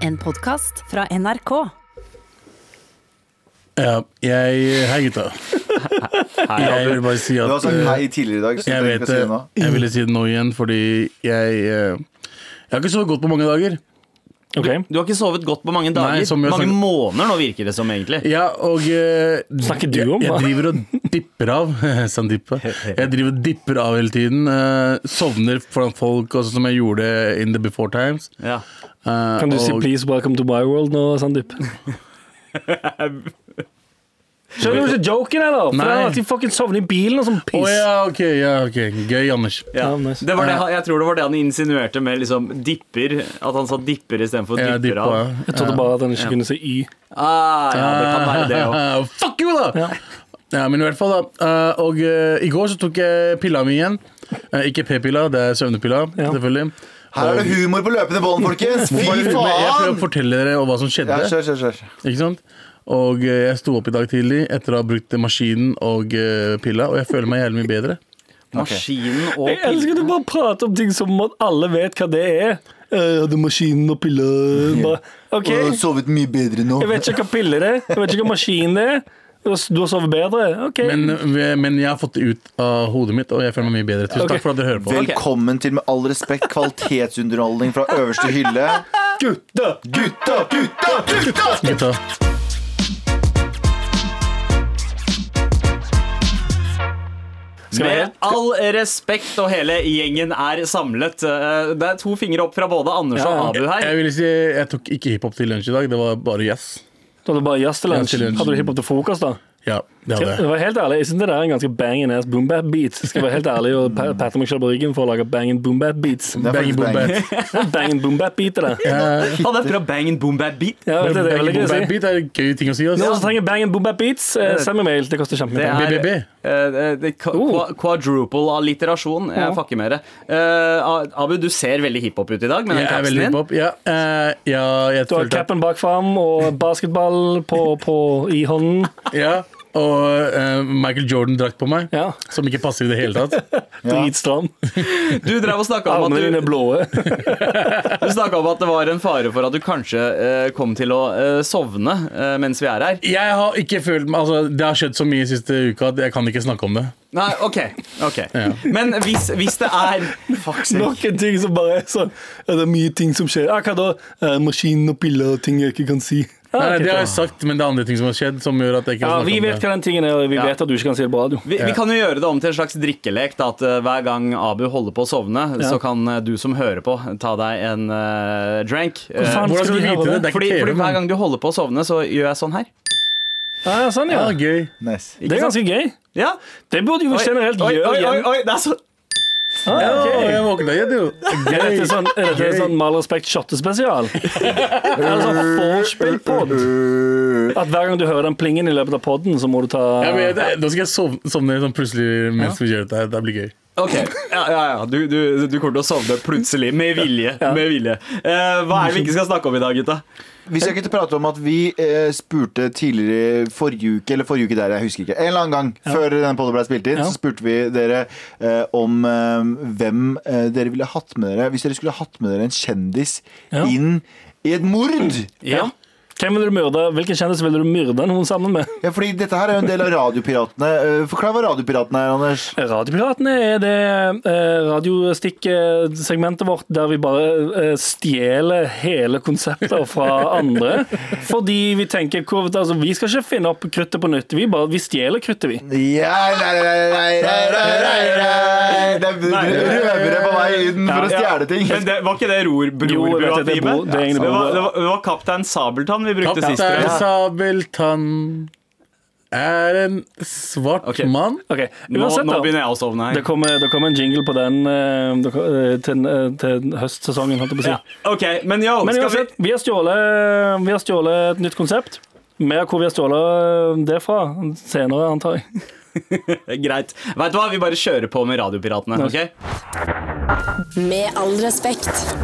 En podkast fra NRK. Ja, jeg Hei, gutta. Jeg vil bare si Du har at sagt eh, hei tidligere i dag, så jeg jeg vet ikke si det nå. det. Jeg ville si det nå igjen, fordi jeg eh, Jeg har ikke sovet godt på mange dager. Ok. Du har ikke sovet godt på mange dager. Nei, som jeg mange snakket- måneder nå, virker det som, egentlig. Ja, og eh, Snakker du om, Jeg, hva? jeg driver og dipper av. Sandeepa. Jeg driver og dipper av hele tiden. eh, sovner foran folk, også som jeg gjorde in the before times. Ja. Eh, Kan du si og- 'please welcome to my world' nå, Sandeep? Skjønner du ikke joken, eller? For Nei. det er At de fucking sovner i bilen og sånn Å piss. ja, ok. ja, ok Gøy, Anders. Ja. Ja, nice. Det var det, han- jeg tror det var det han insinuerte med liksom dipper. At han sa dipper istedenfor Jeg dipper dippa. av. Jeg trodde bare at han ikke kunne si Y. Ah, ja, det kan være det òg. Ah, Fuck you, da! Ja. men i hvert fall, da. Eh, og eh, i går så tok jeg pilla mi igjen. Eh, ikke p-pilla, det er søvnepilla, Ja. selvfølgelig. Her er det humor på løpende bånd, folkens! Fy Men jeg prøver å faen! fortelle dere om hva som skjedde. Ja, kjør, kjør, kjør. Ikke sant? Og eh, jeg sto opp i dag tidlig etter å ha brukt maskinen og eh, pilla, og jeg føler meg jævlig mye bedre. Maskinen og Jeg elsker at du bare prater om ting som at alle vet hva det er. Jeg hadde maskinen og pilla bare, Og OK, jeg sovet mye bedre nå. vet ikke hva piller det er, jeg vet ikke hva maskin det er. Du har- Du har sovet bedre? OK. Men, eh, men jeg har fått det ut av hodet mitt, og jeg føler meg mye bedre. Tusen Ok. takk for at dere hører på. Velkommen til med all respekt kvalitetsunderholdning fra øverste hylle. Gutta, gutta, gutta, gutta! Gutta. Med all respekt og hele gjengen er samlet. Eh, Det er to fingre opp fra både Anders Ja, ja. og Abu her. Jeg, vil si, jeg tok ikke hiphop til lunsj i dag, det var bare jazz. Du hadde bare jazz til Jazz til lunsj. lunsj. Hadde du hiphop til frokost, da? Ja, det hadde Det jeg. var helt ærlig, Jeg synes det der er en ganske banging ass boombap beat. Skal jeg være helt ærlig og pa- patte meg selv på ryggen for å lage banging boombap beats. Det er Bang, faktisk boom, bang. bat. Banging boombap beat er det. Eh, Han er fra Bang Boom Bad Beat. Ja, det er det jeg Bang, vil boom, bat si. beat er en gøy ting å si. Noen som Altså. trenger banging boombap beats, eh, send meg mail. Det koster Det kjempepenger. er, BBB. eh, det- det- ka- Oh. qua- Quadruple alliterasjon. Jeg fucker med det. Eh, Abu, du ser veldig hiphop ut i dag med den Jeg er kapsen veldig din. hiphop. Ja, eh, ja, jeg Du har følte at capen bak fram og basketball på, på, i hånden. ja, Og eh, Michael Jordan-drakt på meg, Ja. som ikke passer i det hele tatt. Dritstram. Du drev og snakka om, at Armene du- dine er blå. du snakket om at det var en fare for at du kanskje eh, kom til å eh, sovne eh, mens vi er her. Jeg har ikke følt meg altså, Det har skjedd så mye siste uka at jeg kan ikke snakke om det. Nei, OK. ok Men hvis, hvis det er Fuck sake. Nok en ting som bare er sånn ja, Det er mye ting som skjer. Ah, hva da? Eh, Maskinen og piller og ting jeg ikke kan si. Ah, Nei, ok, det har bra. jeg sagt, men det er andre ting som har skjedd som gjør at jeg ikke ja, kan Vi snakke vet om det. hva den tingen er, og vi vet at du ikke kan si det på radio. Vi, vi kan jo gjøre det om til en slags drikkelek. Da, at eh, Hver gang Abu holder på å sovne, Ja. så kan eh, du som hører på, ta deg en eh, drank. Eh, faen Hvordan skal Skal du vi ha vite det? det? Det er fordi, ikke fordi TV. Hver men- gang du holder på å sovne, så gjør jeg sånn her. Ah, sånn, Ja, ja. gøy. Nice. Det er sant? ganske gøy. Ja. Det burde jo Oi, generelt oi, gjøre oi, oi, igjen. oi, det er så Ja, jeg våkna igjen, jo. Er dette sånn, er dette Gøy. sånn Mal respekt shottespesial? Er det sånn vorspiel-pod? At hver gang du hører den plingen i løpet av podden, så må du ta Ja, men jeg, nå skal jeg sovne, sovne sånn plutselig mens vi gjør dette. her. Det blir gøy. Ok, ja, ja, ja. Du, du, du kommer til å sovne plutselig, med vilje. Med vilje. Eh, hva er det vi ikke skal snakke om i dag, gutta? Vi skal ikke prate om at vi eh, spurte tidligere forrige uke, eller forrige uke der, jeg husker ikke, en eller annen gang før denne podden ble spilt inn, Ja. så spurte vi dere eh, om eh, hvem eh, dere ville hatt med dere, hvis dere skulle hatt med dere en kjendis Ja. inn i et mord. Ja. Hvem vil du myrde? Hvilken kjendis vil du myrde noen sammen med? Ja, fordi dette her er jo en del av radiopiratene. Eh, Forklar hva radiopiratene er, Anders. Radiopiratene er det eh, radiostikksegmentet vårt der vi bare eh, stjeler hele konsepter fra andre. Fordi vi tenker hvor- altså, Vi skal ikke finne opp kruttet på nytt. Vi, bare, vi stjeler kruttet, vi. Ja, nei, nei, nei, nei, nei, nei, nei, nei. Det er røvere på vei inn for å stjele ting. Men det, var ikke det ror, Jo, jeg vet det, det er brorbuatimet? bro- det er egentlig det, var- bror- det, var- det var Kaptein Sabeltann vi brukte sist. tror Kaptein jeg. Sabeltann er en svart Ok. mann. Ok, Nå, uansett nå da. begynner jeg å sovne Det her. kommer, det kommer en jingle på den eh, det kom- eh, til, eh, til høstsesongen, holdt jeg på å si. Ja. Ok, men yo, Men skal vi uansett, vi har, stjålet, vi har stjålet et nytt konsept. Mer hvor vi har stjålet eh, det fra senere, antar jeg. Greit. Vet du hva, vi bare kjører på med Radiopiratene. ok? Med all respekt.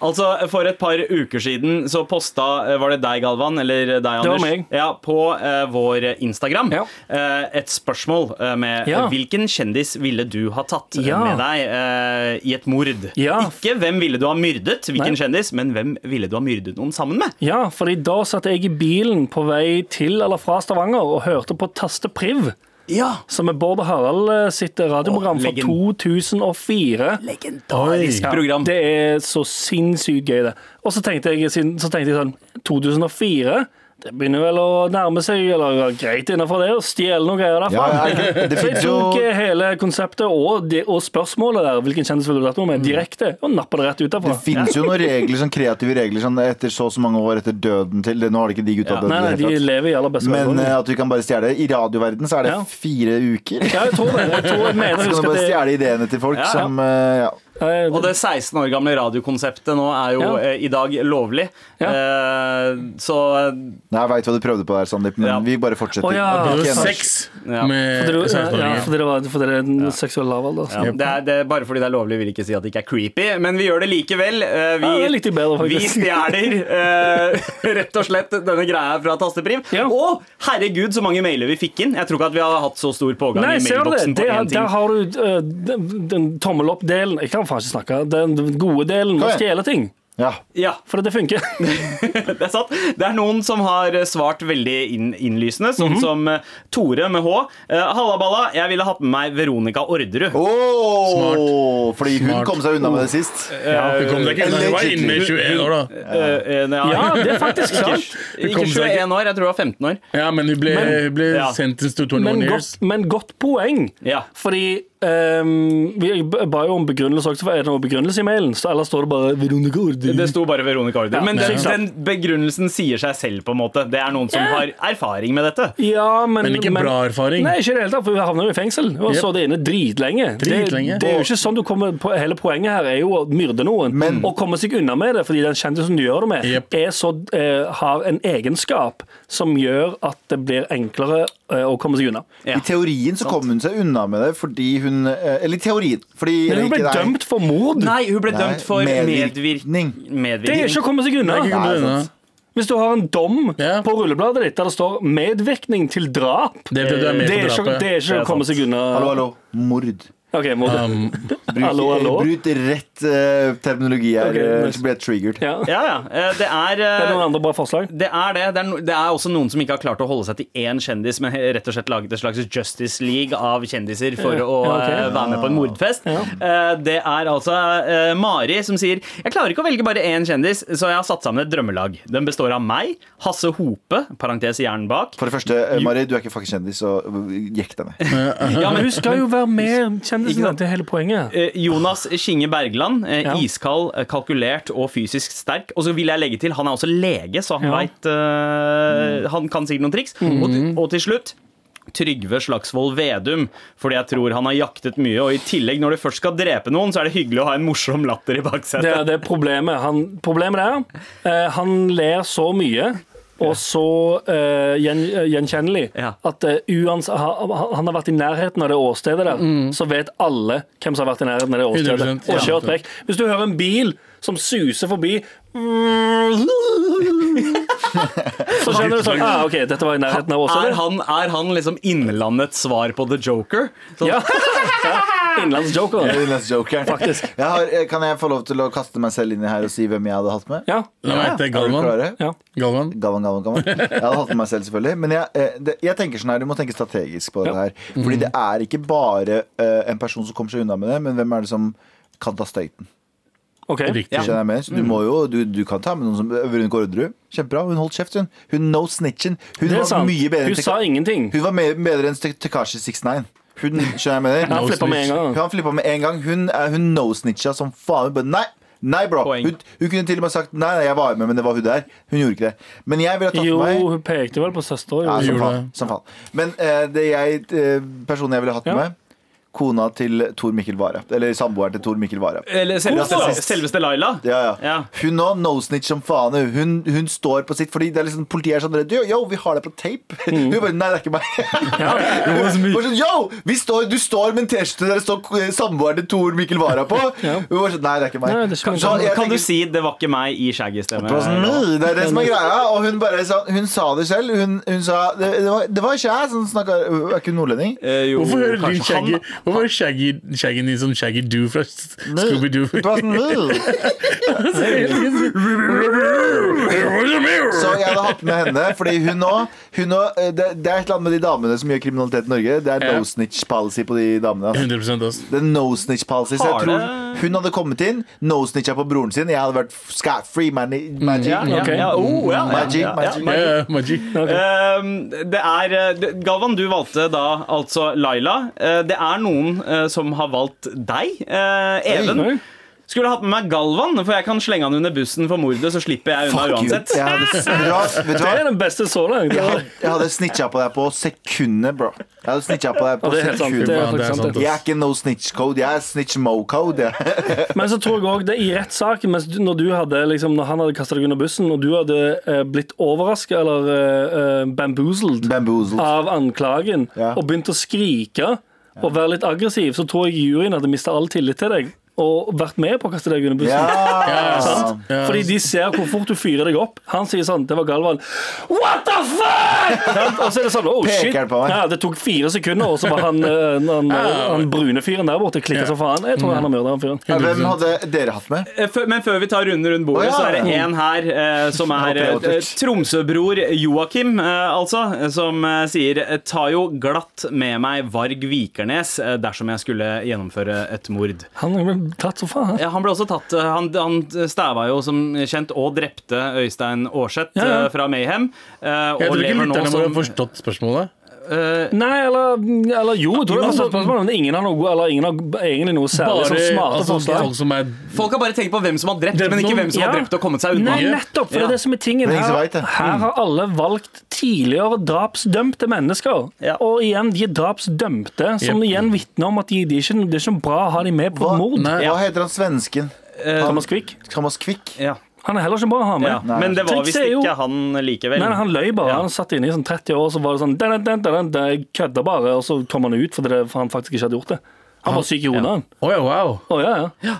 Altså, For et par uker siden så posta eh, Var det deg, Galvan? Eller deg, Anders? var meg. Ja, På eh, vår Instagram Ja. eh, et spørsmål eh, med Ja. hvilken kjendis ville du ha tatt eh, Ja. med deg eh, i et mord? Ja. Ikke hvem ville du ha myrdet, hvilken Nei. kjendis, men hvem ville du ha myrdet noen sammen med? Ja, fordi da satt jeg i bilen på vei til eller fra Stavanger og hørte på Taste Priv, Ja, som er Bård og Harald eh, sitt radioprogram Åh, fra legend- 2004. Legendarisk Ja, program. Det er så sinnssykt gøy, det. Og så tenkte jeg, siden- så tenkte jeg sånn 2004 det begynner vel å nærme seg, eller greit innenfor det, å stjele noen greier derfra. Ja, ja, det- det så jeg finnes jo tok eh, hele konseptet og, det, og spørsmålet der, hvilken kjendis ville du vært med, direkte, og nappa det rett ut derfra. det finnes jo noen regler, sånn kreative regler sånn etter så og så mange år etter døden til det, Nå har det ikke de gutta Ja. dødd. i Nei, nei, det hele de tatt. lever i aller beste Men velgående. eh, at vi kan bare stjele I radioverden så er det Ja. fire uker. Ja, jeg tror det. Jeg tror jeg Så mener, kan husker du bare at det, stjele ideene til folk Ja, ja. som eh, ja. Eh, Og det 16 år gamle radiokonseptet nå er jo Ja. eh, i dag lovlig. Eh, så Nei, Jeg veit hva du prøvde på der, Sandeep, men Ja. vi bare fortsetter. Å, ja. Det Ok, var Anders. sex Ja. med fordi du- ja, 16-åringer. fordi det var fordi det er en seksuell lavalder. ja, det er, det er bare fordi det er lovlig, vil ikke si at det ikke er creepy, men vi gjør det likevel. Eh, vi, Ja, det likte jeg bedre, faktisk. vi stjeler eh, rett og slett denne greia fra Tastepriv. Ja. Og herregud, så mange mailer vi fikk inn! Jeg tror ikke at vi har hatt så stor pågang Nei, i ser du det? mailboksen på det én ting. der har du eh, den, den tommel opp-delen Jeg kan faen ikke snakke. Den gode delen med Kom å igjen. stjele ting. Ja. Ja, For det funker. det er sant. Det er noen som har svart veldig inn, innlysende, sånn Mhm. som eh, Tore med H. Eh, Halla, balla, jeg ville hatt med meg Veronica Orderud. Åh, Fordi hun Smart. kom seg unna med det sist. Hun kom deg ikke unna, hun var inne i 21 år, da. Eh, eh, nei, Ja, det er faktisk Ikke, sant. ikke kom seg ikke- 21 år, jeg tror det var 15 år. Ja, men hun ble, hun ble ja. sentenced to 21 Men years. godt, men godt poeng. Ja. Fordi ehm, vi ba jo om begrunnelse også. for Er det noen begrunnelse i mailen? Så ellers står det bare Veronica Ordi. Det sto bare Veronica Order. Ja, men ja. den, den begrunnelsen sier seg selv, på en måte. Det er noen som har erfaring med dette. Ja, men, Men ikke bra erfaring. Nei, ikke i det hele tatt, for vi havner jo i fengsel. Og Jep. så det inne dritlenge. Dritlenge. Det, det er jo ikke sånn du kommer på, Hele poenget her er jo å myrde noen Men- og komme seg unna med det, fordi den kjendisen du gjør det med, Jep. er så, eh, har en egenskap som gjør at det blir enklere eh, å komme seg unna. Ja. I teorien så kom hun seg unna med det fordi hun eh, Eller i teorien. Fordi Men hun eller ble ikke, nei. dømt for mord! Nei, hun ble Nei, dømt for medvirkning. medvirkning. medvirkning. Det er ikke å komme seg unna. Nei, ikke Nei, unna. sant. Hvis du har en dom Ja. på rullebladet ditt der det står 'medvirkning til drap', Det betyr at du er Um, med det er på ikke, drapet. det er ikke Det er å komme seg unna. Hallo, hallo. Mord. Ok, må du. Bruk, Hallo, hallo. bruk rett eh, terminologi her, Ok, eh, nice. så blir jeg triggered. Ja. Ja, ja. Eh, Det er, Er det eh, noen andre bra forslag? det er det. Det er, no, det er også noen som ikke har klart å holde seg til én kjendis, men he- rett og slett laget et slags Justice League av kjendiser for Ja, å ja, ok. eh, være med på en mordfest. Eh, Det er altså eh, Mari som sier Jeg klarer ikke å velge bare én kjendis, så jeg har satt sammen et drømmelag. Den består av meg, Hasse Hope, parentes hjernen bak, For det første, eh, Mari, du er ikke fuckings kjendis, så jekk deg med. Ja, men Hun skal jo være med Ikke kjendisen. sant? Det er hele poenget. Eh, Jonas Kinge Bergland. eh, Ja. Iskald, eh, kalkulert og fysisk sterk. Og så vil jeg legge til, han er også lege, så han Ja. Mm. vet, eh, Han kan sikkert noen triks. Og, til- og til slutt Trygve Slagsvold Vedum, fordi jeg tror han har jaktet mye. Og i tillegg, når du først skal drepe noen, så er det hyggelig å ha en morsom latter i baksetet. Det er det er problemet. Han, problemet er eh, han ler så mye og så eh, gjen, eh, gjenkjennelig Ja. at eh, uans, han, han har vært i nærheten av det åstedet der, Mm. så vet alle hvem som har vært i nærheten av det åstedet. 100%, Og ja. kjørt vekk. Hvis du hører en bil som suser forbi Så skjønner du sånn ah, OK, dette var i nærheten av Er åstedet. han, er han liksom Innlandets svar på The Joker? Sånn, Ja. ja. Innlandsjoker. Det er den eneste jokeren. Faktisk. Jeg har, eh, kan jeg få lov til å kaste meg selv inn i her og si hvem jeg hadde hatt med? Ja. La meg hete Galvan. klare? ja. Galvan. Gavan, gavan, gavan. Jeg hadde hatt med meg selv, selvfølgelig. Men jeg, eh, det, jeg tenker sånn her, du må tenke strategisk på det Ja. Mhm. her. Fordi det er ikke bare eh, en person som kommer seg unna med det, men hvem er det som kan ta støyten? OK. Riktig. Skjønner jeg med? Så Mhm. du, må jo, du, du kan ta med noen som eh, Veronica Orderud. Kjempebra. Hun holdt kjeft, hun. Hun no snitchen. Hun Det er var sant. mye bedre Hun enn sa ingenting. Hun var mer, bedre enn Te- Tekashi 69. Hun, skjønner jeg med det? Han flippa med en gang. Hun flippa med en gang. Hun, eh, hun no-snitcha som faen. Hun bare nei! Nei, bro. Poeng. Hun, hun kunne til og med sagt nei, nei, jeg var med, men det var hun der. Hun gjorde ikke det. Men jeg ville tatt Jo, med meg hun pekte vel på søster. ja, altså. Jo. som gjorde faen, det. som faen. Men eh, det jeg, eh, personen jeg ville hatt Ja. med kona til Tor Mikkel Wara. Eller samboeren til Tor Mikkel Wara. Eller selveste, Hvorfor? selveste Laila. Ja, ja. Ja. Hun nå no-snitch som faen. hun. Hun, hun står på sitt. Fordi det er liksom, Politiet er sånn redd. Yo, yo, vi har deg på tape. Hun bare Nei, det er ikke meg. Bare sånn, yo, vi står, du står med en T-skjorte der det står eh, samboeren til Tor Mikkel Wara på. Hun bare sånn Nei, det er ikke meg. Nei, det er ikke meg. Så jeg Kan du tenker- si 'det var ikke meg' i shaggy-stemme? Det var sånn, «Nei, det er det som er greia. Og hun, bare sa, hun sa det selv. Hun, hun sa Det, det, var, det var ikke jeg som snakka Er ikke hun nordlending? Eh, jo, Hvorfor hører din kanskje Shaggy han- Hvorfor er Shaggy, shaggy din som Shaggy Doo fra S- Scooby-Doo? Det var sånn, «Nei». Så jeg hadde hatt med henne, fordi hun nå hun nå, eh, det, det er et eller annet med de damene som gjør kriminalitet i Norge. Det er Ja. no snitch policy på de damene. Altså. 100 også. Det er no snitch policy. Så Har jeg tror det- hun hadde kommet inn, no snitcha på broren sin. Jeg hadde vært scat free man Mm. magic. Ja, ja, Ok. ja, oh, ja, ja, Magic, ja, ja, magic. Ja, ja, magic. Magic. Ehm, det er eh, det- Galvan, du valgte da altså Laila. Eh, det er noen eh, som har valgt deg. Eh, Even. Skulle hatt med meg Galvan, for jeg kan slenge han under bussen for mordet. Så slipper jeg unna Fuck you. uansett Jeg hadde, vet du hva? Vet du Det hva? er den beste så langt. Jeg hadde, jeg hadde snitcha på deg på sekundet, bro. Jeg hadde snitcha på deg Ja, på det er helt sant. Det sekundet. er Ja, det er faktisk sant. sant, det. Jeg er ikke no snitch code, jeg er snitch mo code. jeg. Men så tror jeg også det i rettssaken, mens du- når du hadde liksom, Når han hadde kasta deg under bussen, og du hadde eh, blitt overraska eller eh, eh, bamboozled Bamboozled. av anklagen Ja. og begynt å skrike og være litt aggressiv, så tror jeg juryen hadde mista all tillit til deg og vært med på å kaste deg under bussen. Ja. Sant? Fordi de ser hvor fort du fyrer deg opp. Han sier sånn Det var Galvan. What the fuck?! Sant? Og så er det sånn Oh, Peker shit. han på meg. Ja, det tok fire sekunder, og så var han, eh, han, han brune fyren der borte klikka som faen. Jeg tror han har myrda han fyren. Hvem hadde dere hatt med? Eh, før- Men før vi tar runden rundt bordet, Å, ja. så er det en her eh, som er eh, Tromsø-bror Joakim, eh, altså, eh, som eh, sier Ta jo glatt med meg Varg Vikernes eh, dersom jeg skulle gjennomføre et mord. Han er vel tatt så faen. Ja, han ble også tatt eh, Han, han stæva jo som kjent og drepte Øystein Aarseth Ja, ja. eh, fra Mayhem. eh, Jeg og tror ikke lever nå lytterne våre har som forstått spørsmålet. eh, Nei, eller, eller jo, jeg tror det var sånn spørsmål, men ingen har, noe, eller ingen har egentlig noe særlig Bare sånn smarte altså, forslag. folk som er Folk har bare tenkt på hvem som har drept, Drept men ikke noen. hvem som har Ja. drept og kommet seg unna. Nei, nettopp, for det Ja. er det som er tingen. Det er ingen som Her, vet det. her har alle valgt tidligere drapsdømte mennesker. Ja. Og igjen, de er drapsdømte, som Jep. igjen vitner om at de, de er ikke, det er ikke bra å ha de med på Hva, et mord. Nei. hva heter han svensken? Eh, Thomas Quick. Thomas Quick? Ja. Han er heller ikke bra å ha med. Ja. Men det var Trikset visst er jo- ikke han likevel. Nei, nei, han løy bare. Ja. Han satt inne i sånn 30 år, så var det sånn den, den, den, den, Jeg kødda bare, og så kom han ut fordi det, for han faktisk ikke hadde gjort det. Han var syk i hodet, han. Å ja, wow. Å, ja, ja.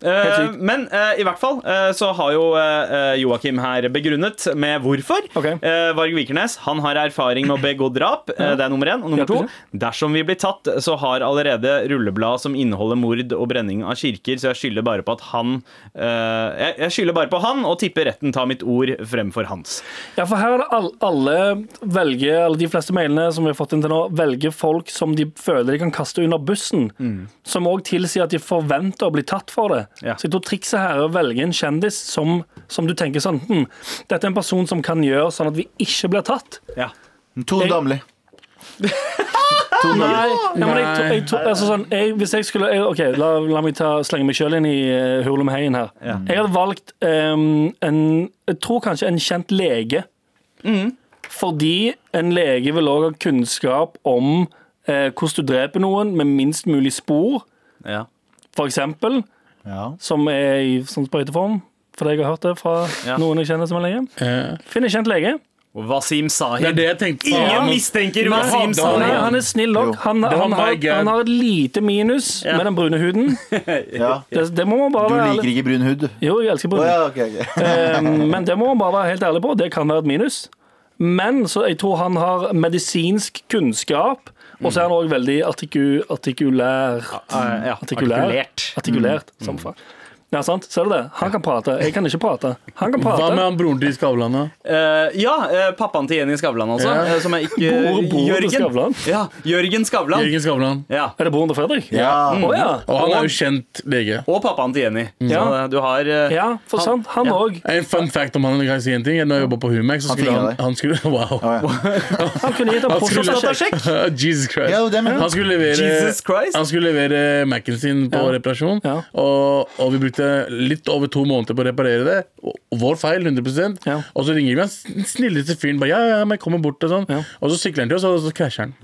Eh, sykt. men eh, i hvert fall eh, så har jo eh, Joakim her begrunnet med hvorfor. Ok. Eh, Varg Vikernes han har erfaring med å begå drap. eh, det er nummer én. Og nummer to, Hjelper dersom vi blir tatt, så har allerede rulleblad som inneholder mord og brenning av kirker, så jeg skylder bare på at han eh, jeg, jeg skylder bare på han og tipper retten tar mitt ord fremfor hans. ja, for her er det all, alle velger, eller de fleste mailene som vi har fått inn til nå, velger folk som de føler de kan kaste under bussen. Som òg tilsier at de forventer å bli tatt for det. Ja. Så jeg tror trikset her er å velge en kjendis som, som du tenker sånn hm, Dette er en person som kan gjøre sånn at vi ikke blir tatt. Ja. Hm. Tone Damli. Nei, ja, men jeg, tror- Nei. jeg, tror- altså sånn, jeg, hvis jeg skulle jeg, Ok, la, la meg ta, slenge meg sjøl inn i uh, Hurlumheien her. Jeg hadde valgt em, en Jeg tror kanskje en kjent lege. Fordi en lege vil òg ha kunnskap om eh, hvordan du dreper noen med minst mulig spor, ja. f.eks. Ja. Som er i sånn sprøyteform. Fordi jeg har hørt det fra Ja. noen jeg kjenner som er lege. Eh, Finn en kjent lege. Og Wasim Det er Sahid. det jeg tenkte. Ingen Faen. mistenker Nei, Wasim da- Nei, Sahid. han er snill nok. Han, Det var han, har, my god. han har et lite minus Ja. med den brune huden. ja. Det, det må man bare Du være liker ærlig ikke brun hud? Jo, jeg elsker brun. Å ja, ok, ok. Eh, Men det må man bare være helt ærlig på. Det kan være et minus. Men så jeg tror han har medisinsk kunnskap, og så er han òg veldig artiku, artikulær. Eh, ja, Artikulær. Artikulert. Artikulert, Mm. som faen. Ja, sant? Ser du det? Han kan prate. Jeg kan ikke prate. Han kan Hva med prate. han broren til Skavlan, da? Eh, ja, eh, pappaen til Jenny Skavlan, altså. Ja. eh, Som er ikke Bror- bror til Skavlan? Ja, Jørgen Skavlan. Jørgen Skavlan. Ja. Er det broren til Fredrik? Ja. Å ja. Og han er jo kjent lege. Og pappaen til Jenny. Så Ja. eh, du har eh, ja, for sant. Han òg. En fun fact om han, kan jeg si en ting? Når jeg jobbet på Humex, så skulle fingret han, deg. han skulle, Wow. Han kunne gitt en Han skulle- prostatasjekk. Jesus Christ. Ja, det mener jeg. han skulle levere, Jesus Christ. han skulle levere Mac-en sin på reparasjon, Ja. og, og vi brukte litt over to måneder på å reparere det. Og- Vår feil, 100 Ja. Og så ringer vi han sn- snilleste fyren bare ja, ja, men jeg kommer bort og sånn. Ja. Og så sykler han til oss, og så krasjer han.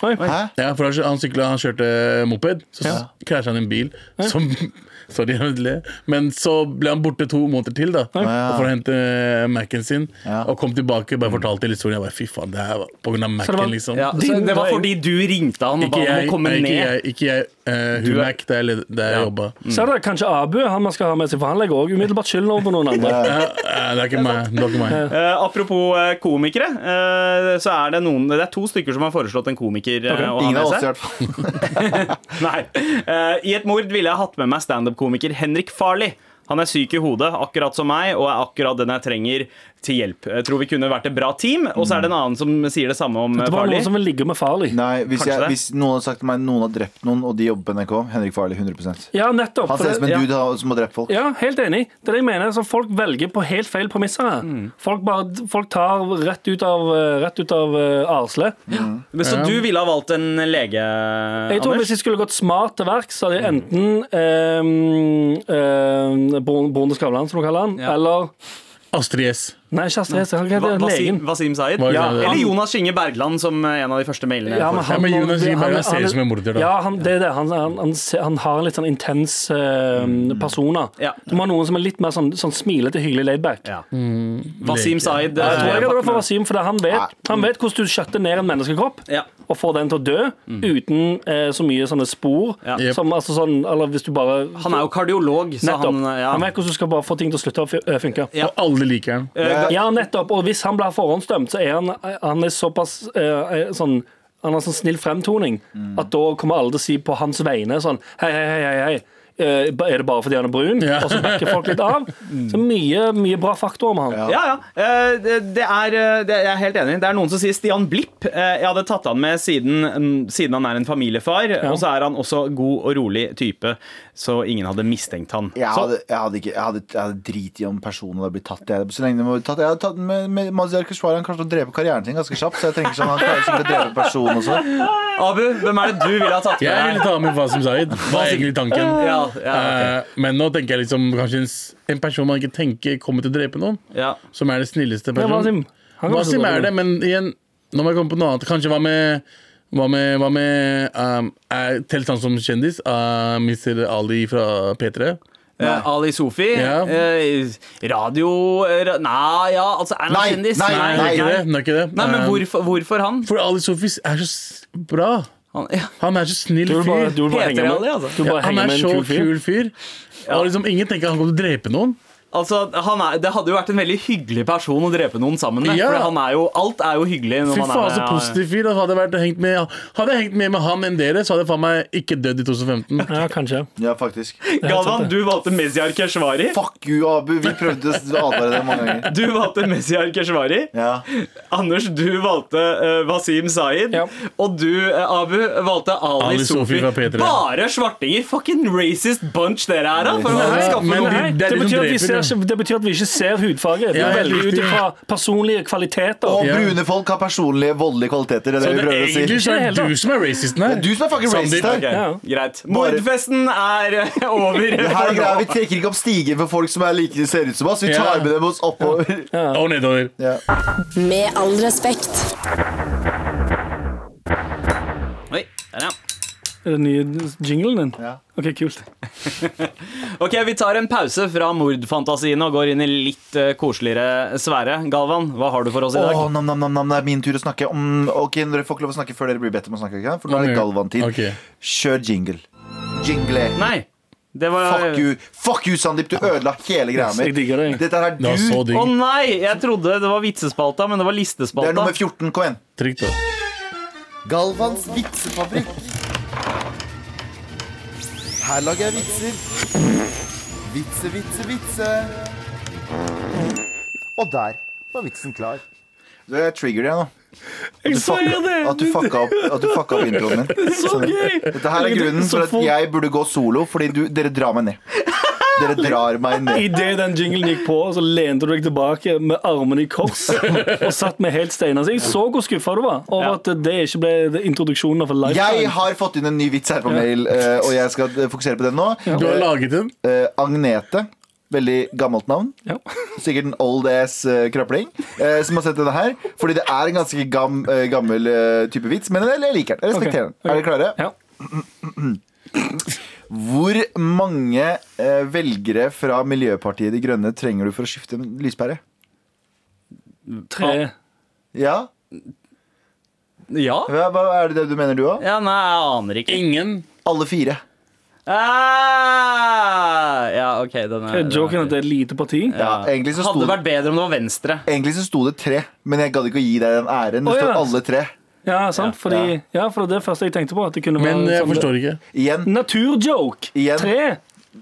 Oi. Hæ? Ja, for han kjø- han, syklet, han kjørte moped, så ja. krasja han i en bil. Som, sorry, jeg vil le. Men så ble han borte to måneder til da Og for å hente eh, Mac-en sin. Ja. Og kom tilbake og bare fortalte historien. Jeg bare, fy faen, det her var på grunn av det var- Mac-en, liksom. Ja, så Din- det var da- fordi du ringte han og ba Ikke han om jeg, å komme nei, ikke ned. jeg, ikke jeg eh, Du er- Humac, der jeg, led- der jeg jobba. Så er det kanskje Abu han man skal ha med seg, for han legger òg umiddelbart skylden over på noen andre. Ja, ja, det er ikke meg. Det var ikke meg. Eh, apropos eh, komikere, eh, så er det noen Det er to stykker som har foreslått en komiker. eh, å ha Ingen med av oss, seg. i hvert fall. Nei. Eh, I et mord ville jeg hatt med meg standup-komiker Henrik Farley. Han er syk i hodet, akkurat som meg, og er akkurat den jeg trenger til hjelp. Jeg tror vi kunne vært et bra team. Og så er det en annen som sier det samme om eh, Det var Farley. noen som vil ligge med Farley. Nei, hvis, Kanskje jeg, det. hvis noen hadde sagt til meg noen har drept noen, og de jobber på NRK Henrik Farley, 100 Ja, nettopp. Han for ser ut som en det- dude han- som har drept folk. Ja, helt enig. Det er det jeg mener. Så folk velger på helt feil premisser. her. Mm. Folk, bare, folk tar rett ut av, eh, rett ut av eh, arslet. Men Så du ville ha valgt en lege, Jeg tror Anders? Hvis jeg skulle gått smart til verks, så hadde jeg enten eh, eh, Bron- Bonde Skavlan, som du kaller han, Ja. eller Astrid S. Nei, ikke Astrid S. Han Va heter Wasim, legen. Wasim Zaid? Hva er det Ja. det? Eller Jonas Skinge Bergland, som eh, en av de første mailene. jeg Ja, får. Ja, men han, men må- Jonas Giæver han- han- ser ut som en morder, da. Ja, han, det er det. Han, han, han, ser- han har litt sånn intens eh, Mm. personer. Ja. Du må ha noen som er litt mer sånn, sånn smilete, hyggelig laidback. ja. Mm. Wasim lege. Zaid. eh, Jeg tror jeg hadde gått for Wasim, for det- han vet, Nei. han vet hvordan du skjøtter ned en menneskekropp. Ja. Og får den til å dø uten eh, så mye sånne spor. Mm. Ja. Jep. Som, altså, sånn, eller hvis du bare Han er jo kardiolog, så Nettopp. han eh, ja. vet hvordan du skal bare få ting til å slutte å fy- øh, funke. Ja. Og alle liker han. Eh, Ja, nettopp. Og hvis han blir forhåndsdømt, så er han, han er såpass eh, eh, sånn han har sånn snill fremtoning Mm. at da kommer alle til å si på hans vegne sånn Hei, hei, hei, hei. hei. eh, Er det bare fordi han er brun? Ja. Mm. Og så backer folk litt av. Så mye, mye bra faktorer med han. Ja, ja. Eh, Det det er, eh, det, jeg er helt enig. Det er noen som sier Stian Blipp. Eh, Jeg hadde tatt han med siden, mm, siden han er en familiefar, og så er han også god og rolig type, så ingen hadde mistenkt han. Jeg Så, hadde, jeg, hadde ikke, jeg, hadde, jeg hadde drit i om personen hadde blitt tatt. Jeg, så lenge de hadde blitt tatt Jeg hadde tatt den med, med Mazyar Keshvari. Han klarer å drepe karrieren sin ganske kjapt. Så jeg tenker sånn, han klarer sikkert å drepe personen også. Abu, hvem er det du ville ha tatt Jeg ville med deg? ta med Wasim Zaid, var egentlig tanken. Ja, ja, Eh, Men nå tenker jeg liksom kanskje en, s- en person man ikke tenker kommer til å drepe noen. Ja. Som er det snilleste Ja, Wasim. personen. Han kommer til Wasim å drepe er det, men igjen Nå må jeg komme på noe annet. Kanskje hva med hva med, hva med um, er- Telt han som kjendis? Uh, Mr. Ali fra P3? Eh, Ali Sofi? Ja. eh, Radio eh, ra, Nei, ja, altså Er han Nei, kjendis? nei, Nei, det er ikke det. nei. det er ikke det. Nei, men Um, hvorfor, hvorfor han? For Ali Sofis er så s- bra. han ja. Han er så snill Du vil bare, fyr. du vil bare Heter henge Ali, med, altså? du vil bare Han henge er med en så kul fyr. kul fyr. Og liksom Ingen tenker han kommer til å drepe noen. Altså, han er, Det hadde jo vært en veldig hyggelig person å drepe noen sammen med. Ja. For han er jo, alt er jo hyggelig. Når Fy man faen, er så positiv fyr. Altså, hadde, jeg vært, hengt med, hadde jeg hengt mer med han enn dere, så hadde jeg faen meg ikke dødd i 2015. Ja, kanskje. Ja, faktisk. Galvan, du valgte Mezyar Keshvari. Fuck you, Abu. Vi prøvde å advare deg mange ganger. Du valgte Mezyar Keshvari. Ja. Anders, du valgte eh, Wasim Zaid. Ja. Og du, eh, Abu, valgte Ali, Ali Sofi Sofi. fra P3. Bare svartinger! Fucking racist bunch dere er, da! For å Ja, skaffe men noe. Nei, det er de det, som betyr at vi dreper, ser, ja. ikke- det betyr at vi ikke ser hudfarge. Vi Ja, helt velger ut riktig. ifra personlige kvaliteter. Og Ja. brune folk har personlige voldelige kvaliteter. Det er det vi det er prøver å egentlig si. så er Ikke det det hele du som er racisten her. Det er du som er fucking Sandeep. racist her. Ok, Ja. Greit. Mordfesten er eh, over. Det her er greia, Vi trekker ikke opp stiger for folk som er like, ser ut som oss. Vi Ja. tar med dem oss oppover. Og nedover. Ja. Med all respekt. Oi, der, ja. Er det nye jinglen din? Ja. Ok, kult. Ok, Vi tar en pause fra mordfantasiene og går inn i litt eh, koseligere sfære. Galvan, hva har du for oss i dag? Åh, nam, nam, nam, nam, det er min tur å snakke. Mm, ok, Dere får ikke lov å snakke før dere blir bedt om å snakke. Ikke? sant? For nå er det Galvan-tid. Ok. Kjør jingle. Jingle. Nei, det var Fuck you, Fuck you, Sandeep. Du ødela hele greia mi. Jeg digger deg. Dette her er Det var så du. Å digg. nei! Jeg trodde det var vitsespalta, men det var Det er listespalta. nummer 14. Kom igjen. Trygt, da. Galvans vitsefabrikk. Her lager jeg vitser. Vitse, vitse, vitse. Og der var vitsen klar. Du, jeg trigger deg nå. Jeg sier det! At du fucka opp, at du fucka opp introen min. Så gøy! Dette her er grunnen for at jeg burde gå solo, fordi du, dere drar meg ned. Dere drar meg ned. Idet den jinglen gikk på, så lente du deg tilbake med armene i kors og satt med helt steiner. Så jeg så hvor skuffa du var over Ja. at det ikke ble det- introduksjonen av Jeg Lifetime. har fått inn en ny vits her på mail, eh, og jeg skal eh, fokusere på den nå. Du har laget den. Eh, Agnete Veldig gammelt navn. Ja. Sikkert en old ass eh, krøpling eh, som har sett denne her. Fordi det er en ganske gam, eh, gammel eh, type vits, men jeg liker den. Jeg respekterer Ok, den. Er dere klare? ja. Hvor mange eh, velgere fra Miljøpartiet De Grønne trenger du for å skifte lyspære? Tre. Ja? Ja? Hva, hva er det du mener du òg? Ja, nei, jeg aner ikke. Ingen Alle fire. Ah, ja, ok, den er, Er Joken at det er et lite parti? Ja, egentlig så sto Hadde det- vært bedre om det var Venstre. Egentlig så sto det tre, men jeg gadd ikke å gi deg den æren. Det Å, står ja. alle tre. Ja, sant? Fordi, ja, for det er det første jeg tenkte på. At det kunne være Men jeg sånn- forstår ikke. Igjen. Naturjoke! Igjen. Tre!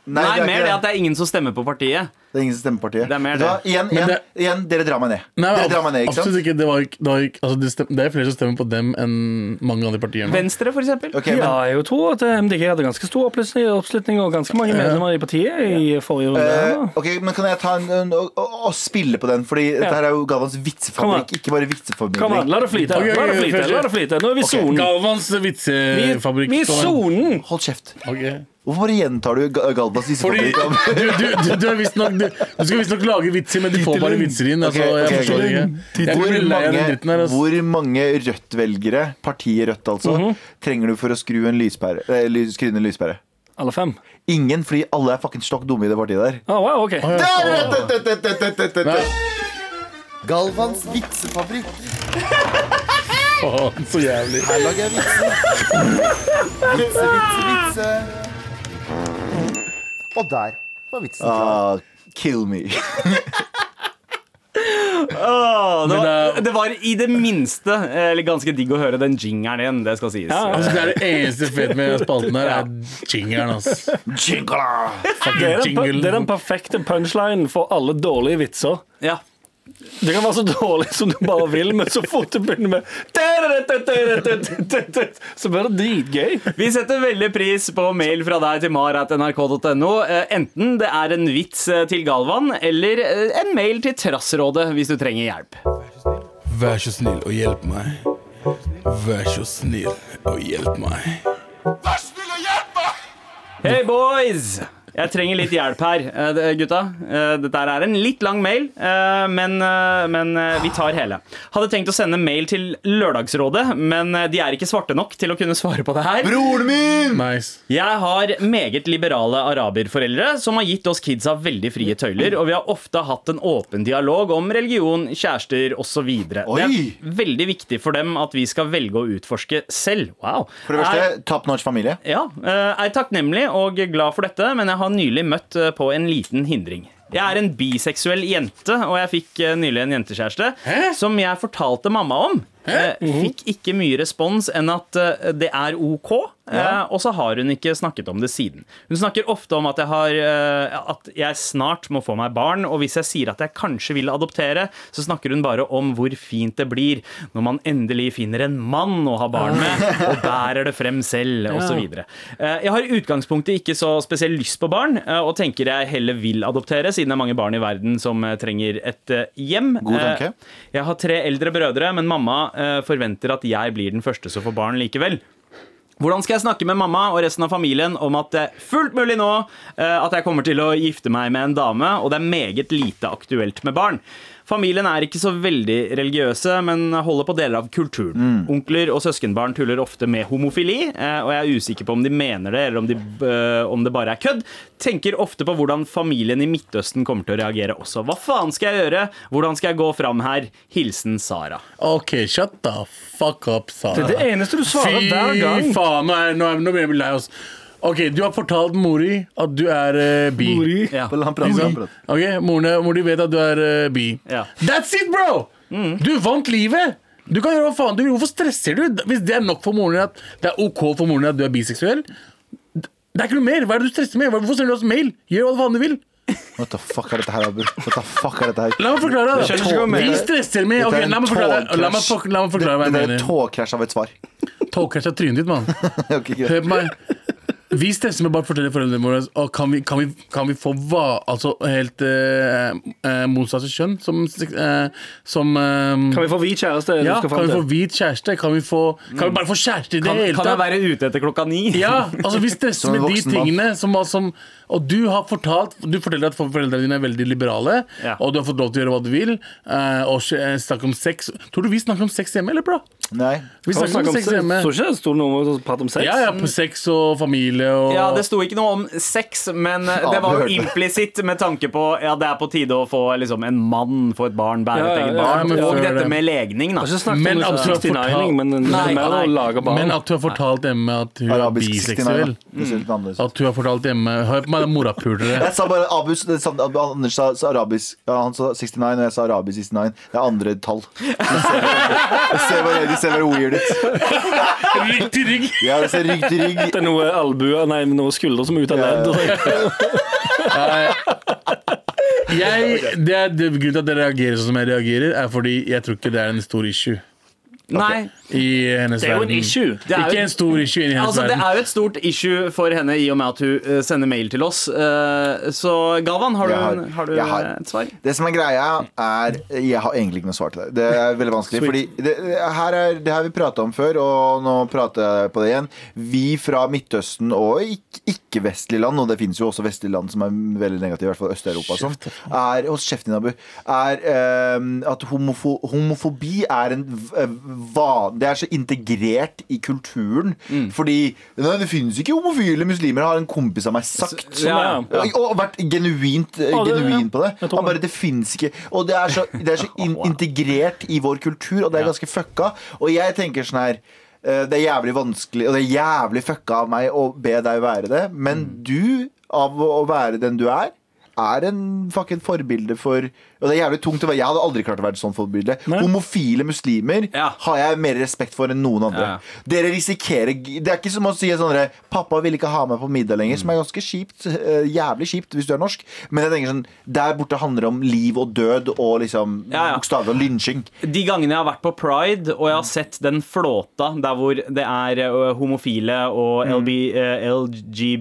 Nei, det er mer ikke det at det er ingen som stemmer på partiet. Det er ingen som stemmer partiet. Det er mer Vet du hva? det. Igjen, Men igjen, det- igjen, dere drar meg ned. Nei, dere drar meg ned, ikke sant? absolutt ikke. Det, var, ikke- det, var, ikke- altså, det, stem, det er flere som stemmer på dem enn mange andre partier. nå. Venstre, for eksempel. Ok, men, ja, jeg tror at eh, MDG hadde ganske stor opplysning- oppslutning og ganske mange medlemmer i partiet i forrige runde. eh, her, da. ok, men kan jeg ta en, en og, og, og spille på den? Fordi dette her er jo Galvans Kom an. vitsefabrikk, ikke bare Kom an, vitseformidling. la det flyte. Ok, ok, La det flyte, først- eh, la det flyte. Nå er vi i sonen. Galvans Vi vitsefabrikk. vi er i sonen! Hold kjeft. Ok. Hvorfor bare gjentar du Ga- Galvans Fordi vitsefabrikk? du, om- du, du, du, er visst nok, du, du skal visstnok lage vitser, men du får bare vitser inn. Altså, Ok, ok, jeg forstår ok. ikke. Jeg Hvor blir lei av den dritten mange, her. Altså. hvor mange Rødt-velgere, partiet Rødt altså, trenger du for å skru en lyspære? Eh, lys- skru ned en lyspære? Alle fem. Ingen, fordi alle er fucking stokk dumme i det partiet der. Å, wow, ok. Galvans vitsefabrikk. Faen, så jævlig. Her lager jeg vitser. Vitse, vitse, vitse. Og der var vitsen. Ah, kill me. Åh, det, Men var, eh, det- det var i det minste eh, eller ganske digg å høre den jingeren igjen. Det skal sies. Ja, Altså, det er det eneste fete med spalten her, er jingeren, ass. Det er, den, per- Jingle. det er den perfekte punchlinen for alle dårlige vitser. Ja. Det kan være så dårlig som du bare vil, men så fort du begynner med Så blir det dritgøy. Vi setter veldig pris på mail fra deg til mar.nrk.no. Eh, Enten det er en vits eh, til Galvan, eller eh, en mail til Trassrådet hvis du trenger hjelp. Vær så snill og hjelp meg. Vær så snill og hjelp meg. Hey boys! Jeg trenger litt hjelp her, eh, det- gutta. Eh, Dette her er en litt lang mail, eh, men, eh, men eh, vi tar hele. Hadde tenkt å sende mail til Lørdagsrådet, men eh, de er ikke svarte nok til å kunne svare på det her. Broren min! Nice. Jeg har meget liberale araberforeldre som har gitt oss kidsa veldig frie tøyler, og vi har ofte hatt en åpen dialog om religion, kjærester osv. Det er Oi! veldig viktig for dem at vi skal velge å utforske selv. Wow. For det første, top notch familie. Ja, eh, jeg er takknemlig og glad for dette, men jeg har nylig møtt eh, på en liten hindring. Jeg er en biseksuell jente, og jeg fikk eh, nylig en jentekjæreste Hæ? som jeg fortalte mamma om. Eh, Fikk ikke mye respons enn at eh, det er OK, eh, og så har hun ikke snakket om det siden. Hun snakker ofte om at jeg, har, eh, at jeg snart må få meg barn, og hvis jeg sier at jeg kanskje vil adoptere, så snakker hun bare om hvor fint det blir når man endelig finner en mann å ha barn med, og bærer det frem selv, osv. Eh, Jeg har i utgangspunktet ikke så spesielt lyst på barn, eh, og tenker jeg heller vil adoptere, siden det er mange barn i verden som eh, trenger et eh, hjem. God tanke. Eh, Jeg har tre eldre brødre, men mamma eh, forventer at jeg blir den første som får barn likevel. Hvordan skal jeg snakke med mamma og resten av familien om at det er fullt mulig nå eh, at jeg kommer til å gifte meg med en dame, og det er meget lite aktuelt med barn? Familien er ikke så veldig religiøse, men holder på deler av kulturen. Mm. Onkler og søskenbarn tuller ofte med homofili, eh, og jeg er usikker på om de mener det, eller om, de, eh, om det bare er kødd. Tenker ofte på hvordan familien i Midtøsten kommer til å reagere også. Hva faen skal jeg gjøre? Hvordan skal jeg gå fram her? Hilsen Sara. OK, shut the fuck up, Sara. Det er det eneste du svarer hver gang. Fy faen, nå, er, nå, er, nå blir jeg lei oss. OK, du har fortalt mori at du er eh, bi. Liksom. Ja. Han prater, han prater. Ok, Moren mor di vet at du er eh, bi. Ja. Mm. That's it, bro! Du vant livet! Du kan gjøre hva faen du vil. Hvorfor stresser du? Hvis det er nok for moren din at det er OK for moren din at du er biseksuell, det er ikke noe mer. Hva er det du stresser med? Hvorfor sender du oss mail? Gjør hva faen du vil. What the fuck er dette her, Abu? What the fuck er dette her? La meg forklare Det er deg. tog- da. Vi stresser med Dette Ok, er en La meg forklare deg. La meg, togkrasj. for, la meg forklare hva jeg Det- Det er et mener. tåkrasj av et svar. Togkrasj av trynet ditt, mann. Ok, greit. Hør på meg. Vi stemmer bare forteller foreldrene våre og kan, vi, kan, vi, kan vi få hva Altså helt eh, eh, motsatte kjønn som, eh, som eh, Kan vi få hvit kjæreste? er det du ja, skal kan fram vi få til? hvit kjæreste? Kan vi, få, kan vi bare få kjæreste i det Kan, hele kan jeg tatt? være ute etter klokka ni? Ja, altså vi stresser Som en med de voksen mann. tingene som, som Og du har fortalt Du forteller at foreldrene dine er veldig liberale Ja. Og du har fått lov til å gjøre hva du vil eh, Og s- eh, snakke om sex Tror du vi snakker om sex hjemme, eller bra? Nei. Vi Kan vi snakker om sex hjemme Tror ikke det sto noe om å prate om sex. Ja, ja, på sex og familie og Ja, det sto ikke noe om sex, men eh, det Ja, var du jo hørte. implisitt med tanke på Ja, det er på tide å få liksom, en mann, få et barn, bære Ja, et ja, eget ja, barn. ja, men Og før dette det. med legning, da. Jeg har ikke snakket Men om absolutt 69-ing, men det Nei, med å nei. lage barn. Men at du har fortalt hjemme at hun er Arabisk 69. biseksuell da. Det ser litt annerledes ut. At du har fortalt hjemme Hør på meg, det er morapulere Jeg sa bare Abus, det samme, Ab- Anders sa, sa arabisk ja, Han sa 69, og jeg sa arabisk 69 Det er andre tall De ser bare, de ser bare weird ut Riktig rygg Ja, det ser rygg til rygg Det er noe albuer, nei, noe skulder som er ute av ledd. og sånn. jeg, det er, det, Grunnen til at jeg reagerer sånn som jeg reagerer Er fordi jeg tror ikke det er en stor issue Nei, I hennes verden Det er jo en issue. Det er jo- Ikke en stor issue i hennes Altså, det verden er jo et stort issue for henne i og med at hun eh, sender mail til oss. Eh, Så Galvan, har du, Jeg har- en- har du jeg har. eh, et svar? Det som er greia er Jeg har egentlig ikke noe svar til det. Det er veldig vanskelig. Fordi det, her er, det har vi prata om før, og nå prater jeg på det igjen. Vi fra Midtøsten og ikk- ikke-vestlige land, og det finnes jo også vestlige land som er veldig negative, i hvert fall Øst-Europa og sånn, altså. er hos kjeften din, Abu, er ehm, at homofo homofobi er en v- eh, va- Det er så integrert i kulturen. Mm. Fordi Nei, det finnes ikke homofile muslimer, har en kompis av meg sagt. sånn, Ja. Ja. Og- Og vært genuint, eh, Ja, det- genuin på det. Jeg tror Han bare, det. det finnes ikke Og det er så, det er så in integrert i vår kultur, og det er ganske fucka. Og jeg tenker sånn her eh, Det er jævlig vanskelig, og det er jævlig fucka av meg å be deg være det, men Mm. du, av å være den du er er en fucking forbilde for Og det er jævlig tungt å være Jeg hadde aldri klart å være et sånt forbilde. Homofile muslimer Ja. har jeg mer respekt for enn noen andre. Ja, ja. Dere risikerer Det er ikke som å si sånn der, 'Pappa vil ikke ha meg på middag lenger', som er ganske kjipt. eh, Jævlig kjipt hvis du er norsk. Men jeg tenker sånn der borte handler det om liv og død og liksom Ja, ja. bokstavelig og lynsjing. De gangene jeg har vært på Pride og jeg Mm. har sett den flåta der hvor det er ø, homofile Mm. og LB, eh,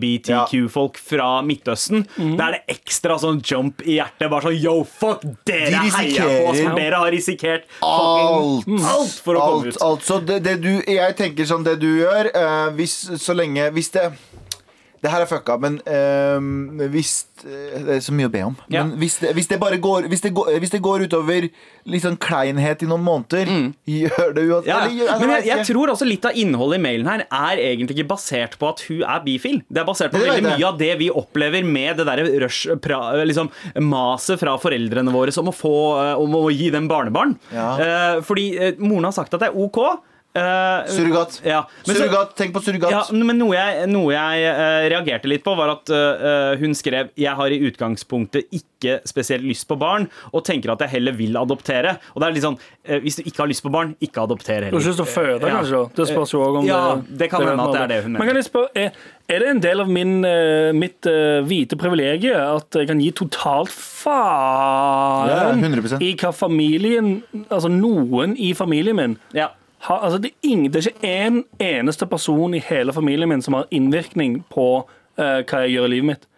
LGBTQ-folk fra Midtøsten, Mm. da er det ekstra sånn jump i hjertet. Bare sånn yo, fuck, dere heier på oss, risikerer for dere har risikert Alt. fucking Mm. alt for å komme Alt, ut. alt. Så det, det du Jeg tenker sånn Det du gjør, eh, hvis så lenge Hvis det det her er fucka, men eh, hvis eh, Det er så mye å be om. Ja. Men hvis det, hvis det bare går Hvis det går, hvis det går utover litt sånn kleinhet i noen måneder, gjør det Mm. uansett. Ja. eller gjør- eller Men jeg, vet jeg ikke. tror også litt av innholdet i mailen her er egentlig ikke basert på at hun er bifil. Det er basert på Det vet veldig jeg. mye av det vi opplever med det derre rush pra, liksom, maset fra foreldrene våre om å, få, eh, om å gi dem barnebarn. Ja. Eh, fordi eh, moren har sagt at det er OK. eh, Surrogat. Ja. Men så- surrogat. Tenk på surrogat. ja, men noe jeg, noe jeg eh, reagerte litt på, var at eh, hun skrev Jeg har i utgangspunktet ikke spesielt lyst på barn, og tenker at jeg heller vil adoptere. Og det er litt sånn eh, Hvis du ikke har lyst på barn, ikke adopter Du har ikke heller. lyst til å føde, Ja. kanskje? da? Det spørs jo også om Ja, det kan hende at det er det hun mener. Men kan jeg spørre, er, er det en del av min, eh, mitt eh, hvite privilegium at jeg kan gi totalt Ja, faen 100%. i hva familien Altså noen i familien min Ja. har, altså det, er ingen, det er ikke én eneste person i hele familien min som har innvirkning på eh, hva jeg gjør i livet mitt.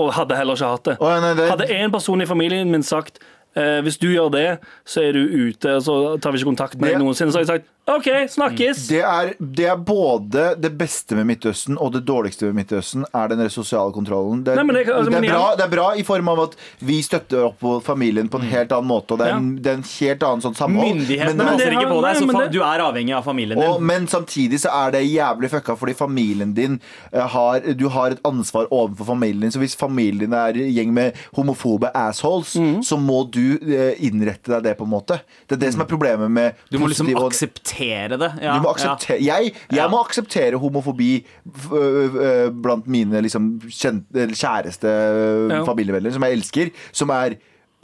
Og hadde heller ikke hatt det. Å, ja, nei, det- Hadde én person i familien min sagt eh, hvis du gjør det, så er du ute, så tar vi ikke kontakt med Det- deg noensinne. Så har jeg sagt OK, snakkes. Det er, det er både det beste med Midtøsten og det dårligste med Midtøsten, er den der sosiale kontrollen. Det er, Nei, men det- altså, det, men er igjen- bra, det er bra i form av at vi støtter opp på familien på en helt annen måte, og det er en, det er en helt annen sånn samhold. Myndighetene men, det passer har- ikke på deg, nei, så men fa det- du er avhengig av familien og, din. men samtidig så er det jævlig fucka fordi familien din eh, har Du har et ansvar overfor familien din, så hvis familien din er en gjeng med homofobe assholes, Mhm. så må du eh, innrette deg det, på en måte. Det er det som er problemet med Du må liksom positiv og- akseptere det. Ja, du må akseptere, jeg jeg Ja. må akseptere homofobi f- øh, øh, blant mine liksom, kjent, eller kjæreste øh, Ja. familievenner, som jeg elsker, som er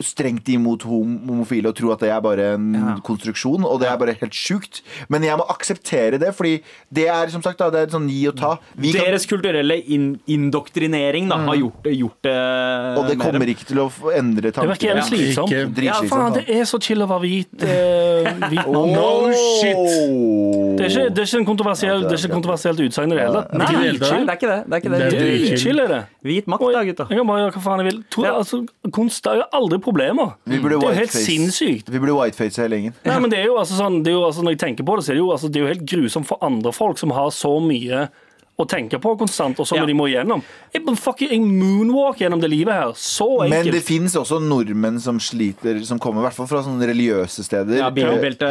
strengt imot hom homofile og tror at det er bare en konstruksjon, og det er bare helt sjukt. Men jeg må akseptere det, fordi det er som sagt da, det er sånn gi og ta. Vi ja. kan- Deres kulturelle in indoktrinering da, har gjort, gjort det Mm. og det mer- kommer ikke til å f- endre Det virker jævlig Ja, ikke- slitsomt. Ja, Ja, faen, det er så chill å være hvit, eh, hvit mann. No shit Det er ikke, det er ikke en kontroversiell, det er ikke et kontroversielt utsagn i det hele tatt. Nei, Ikke i nei, det hele tatt. chill, det er ikke det. det, er ikke Det det. Det er Utchill er det. Hvit makt, da, gutta. Jeg kan bare gjøre hva faen jeg vil. To, Ja. Mm. altså, kunst er jo aldri problemer. Vi burde Det er jo helt whiteface. sinnssykt. Vi burde whiteface hele gjengen. Nei, men det er jo altså sånn, det er jo, altså, Når jeg tenker på det, så er det jo, altså, det er jo helt grusomt for andre folk som har så mye å tenke på konstant, og så Ja. må de må igjennom. Jeg, bare fucking, jeg moonwalk gjennom det livet her. Så Men det enkelt. fins også nordmenn som sliter Som kommer i hvert fall fra sånne religiøse steder. Ja, bilbelte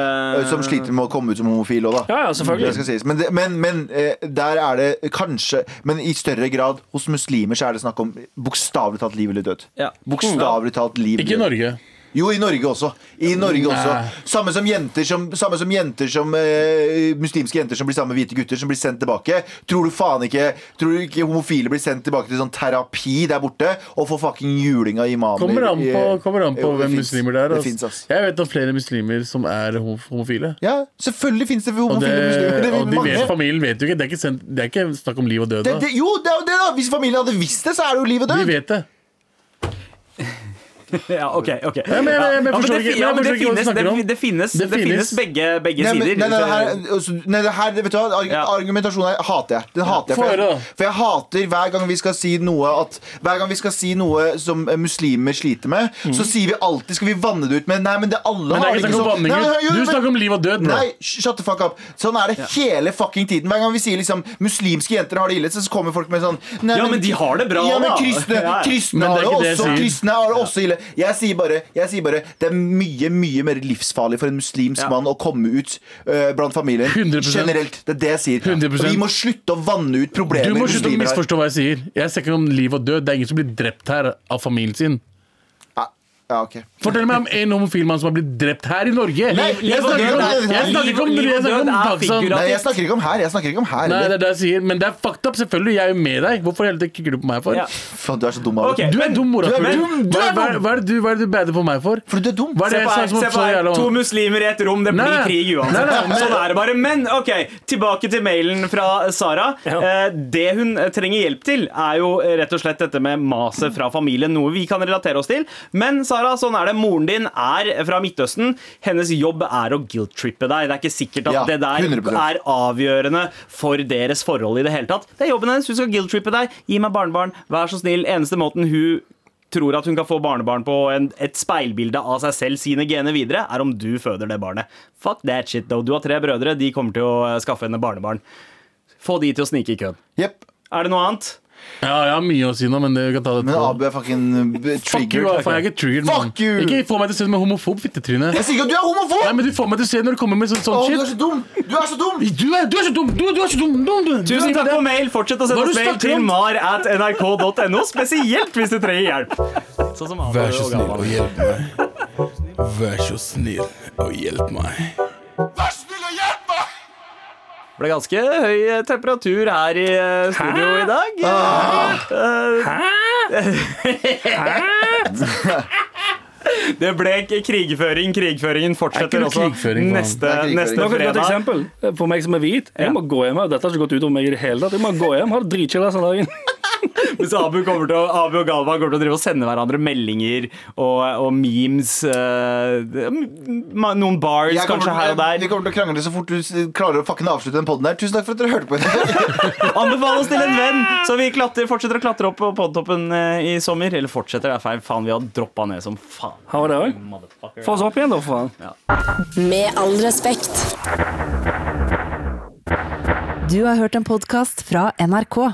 eh, Som sliter med å komme ut som homofil òg, da. Ja, ja, Det selvfølgelig. skal sies. Men, det, men, men eh, der er det kanskje Men i større grad hos muslimer så er det snakk om bokstavelig talt liv eller død. Ja. Bokstavelig talt liv Ikke i eller død. Norge. Jo, i Norge også. I Norge også. eh, Samme som jenter som, samme som, jenter som eh, muslimske jenter som blir sammen med hvite gutter, som blir sendt tilbake. Tror du faen ikke Tror du ikke homofile blir sendt tilbake til sånn terapi der borte og får fucking juling av imamer? Kommer an på, Eh, kommer an på jo, det hvem finnes. muslimer det er. altså. Det ass. finnes, ass. Jeg vet om flere muslimer som er homo- homofile. Ja, selvfølgelig fins det Og, det, homofile muslimer. Det, og de mange. vet, familien vet jo ikke. Det er ikke, sendt, det er ikke snakk om liv og død. det, Da. det, jo, det er jo det, da! Hvis familien hadde visst det, så er det jo livet De død. vet det. Ja, OK. ok men- men- men jeg Ja, men forstår det ikke- fin- ja, men jeg forstår ikke hva men det du finnes- snakker om. det- Det finnes Det det finnes finnes. begge, begge Nei, men, sider. nei, nei, så- her, altså, nei, det her, vet du hva, Arg- Ja. Argumentasjonen her hater jeg. Den hater jeg Få for, høre, da. jeg for jeg hater hver gang vi skal si noe at, Hver gang vi skal si noe som eh, muslimer sliter med, så sier vi alltid Skal vi vanne det ut med Nei, men det alle Mhm. Men det har er ikke snakk ikke om sånn. banning. Nei, men- jo, Du men- snakker om liv og død, bro. Nei, sh- shut the fuck up. Sånn er det hele fucking tiden. Hver gang vi sier liksom muslimske jenter har det ille, så så kommer folk med sånn nei, Ja, men de har det bra, Ja, men da. kristne, Ja. kristne Men det har er det ikke det jeg også sier. Kristne har det også ille. Jeg sier bare, jeg sier bare det er mye, mye mer livsfarlig for en muslimsk Ja. mann å komme ut øh, blant familien 100%. generelt. Det er det jeg sier. 100%. Vi må slutte å vanne ut Du problemer må slutte å muslimer har. misforstå hva jeg sier. Jeg snakker om liv og død. Det er ingen som blir drept her av familien sin. Ja, Ah, ja, ok. Fortell meg om en homofil mann som har blitt drept her i Norge. Liv- liv jeg og snakker død ikke om, er- jeg snakker ikke om, liv- liv jeg og snakker om død er Pakistan. figurativt. Nei, jeg snakker ikke om her. Jeg snakker ikke om Nei, her. det eller? er det jeg sier. Men det er fucked up. Selvfølgelig, jeg er jo med deg. Hvorfor hele tiden kikker du på meg for? Ja. Faen, du er så dum. Alex. Ok. Du er Men- dum, mora. du er Hva, dum, du er hva, dum. hva er det du- hva er det du bader på meg for? For du er dum. Hva er det Se jeg på sa her, sånn som se var på så her. jævla To muslimer i et rom, det Nei, blir nei. krig uansett. Nei, nei, men- Sånn er det bare. Men ok, tilbake til mailen fra Sara. Ja. Eh, Det hun eh, trenger hjelp til, er jo eh, rett og slett dette med maset fra familien, noe vi kan relatere oss til. Men Sara, sånn er det. Moren din er fra Midtøsten. Hennes jobb er å guilt-trippe deg. Det er ikke sikkert at Ja, det der 100%. er avgjørende for deres forhold i det hele tatt. Det er jobben hennes. Hun skal guilt-trippe deg. Gi meg barnebarn. Vær så snill. Eneste måten hun tror at hun kan få barnebarn på en, et speilbilde av seg selv sine gener videre, er om du føder det barnet. Fuck that shit, though. Du har tre brødre, de kommer til å eh, skaffe henne barnebarn. Få de til å snike i køen. Jepp. Er det noe annet? Ja, jeg har mye å si nå, men det, vi kan ta det Men etterpå. Abu er fucking eh, Fuck you, triggered. faen, jeg er ikke triggered. mann. Fuck you! Ikke få meg til å se ut som en homofob, fittetryne. Jeg sier ikke at du er homofob! Nei, men du får meg til å se når du kommer med sånn, Å, sånn du er shit. så dum! Du er så dum! Du er, du er så dum! Du, du er så dum! dum, dum. Tusen takk for mail. Fortsett å Hva er sende oss det du mail snakker til om? mar at nrk.no, spesielt hvis du trenger hjelp. Sånn som Abu Vær så og snill Galvan. og hjelp meg. Vær så snill og hjelp meg. ble ganske høy eh, temperatur her i eh, studio i dag. Hæ? Eh, Det ble ikke krigføring. Krigføringen Er ikke fortsetter det også krigføring, faen? neste, Det er krigføring. neste Nå kan jeg ta et fredag. eksempel for meg som er hvit. Jeg må gå hjem. her. Dette har ikke gått ut over meg i det hele tatt. Jeg må gå hjem, ha det dritkjedelig resten av dagen. Hvis Abu, kommer til, å- Abu og Galvan kommer til å drive og sende hverandre meldinger og, og memes. eh, ma- noen bars Jeg kommer kanskje til- her og Vi der. kommer til å krangle så fort du s- klarer å fucking avslutte den podden her. Tusen takk for at dere hørte på. Anbefal oss til en venn, så vi klatter, fortsetter å klatre opp på podtoppen eh, i sommer. Eller fortsetter, det er feil. Faen, vi har droppa ned som faen. Har det òg. Motherfucker. Få oss opp igjen, da, for faen. Med all respekt. Du har hørt en podkast fra NRK.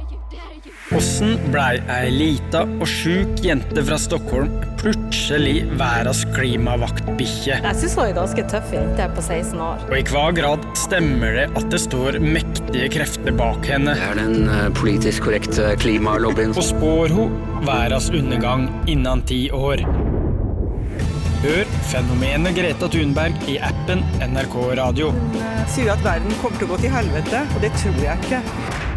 Åssen blei ei lita og sjuk jente fra Stockholm plutselig verdens klimavaktbikkje? Jeg syns hun er ganske tøff jente på 16 år. Og i hva grad stemmer det at det står mektige krefter bak henne? er den eh, politisk korrekte klimalobbyen. Og spår hun verdens undergang innen ti år? Hør fenomenet Greta Thunberg i appen NRK Radio. Sier at verden kommer til å gå til helvete, og det tror jeg ikke.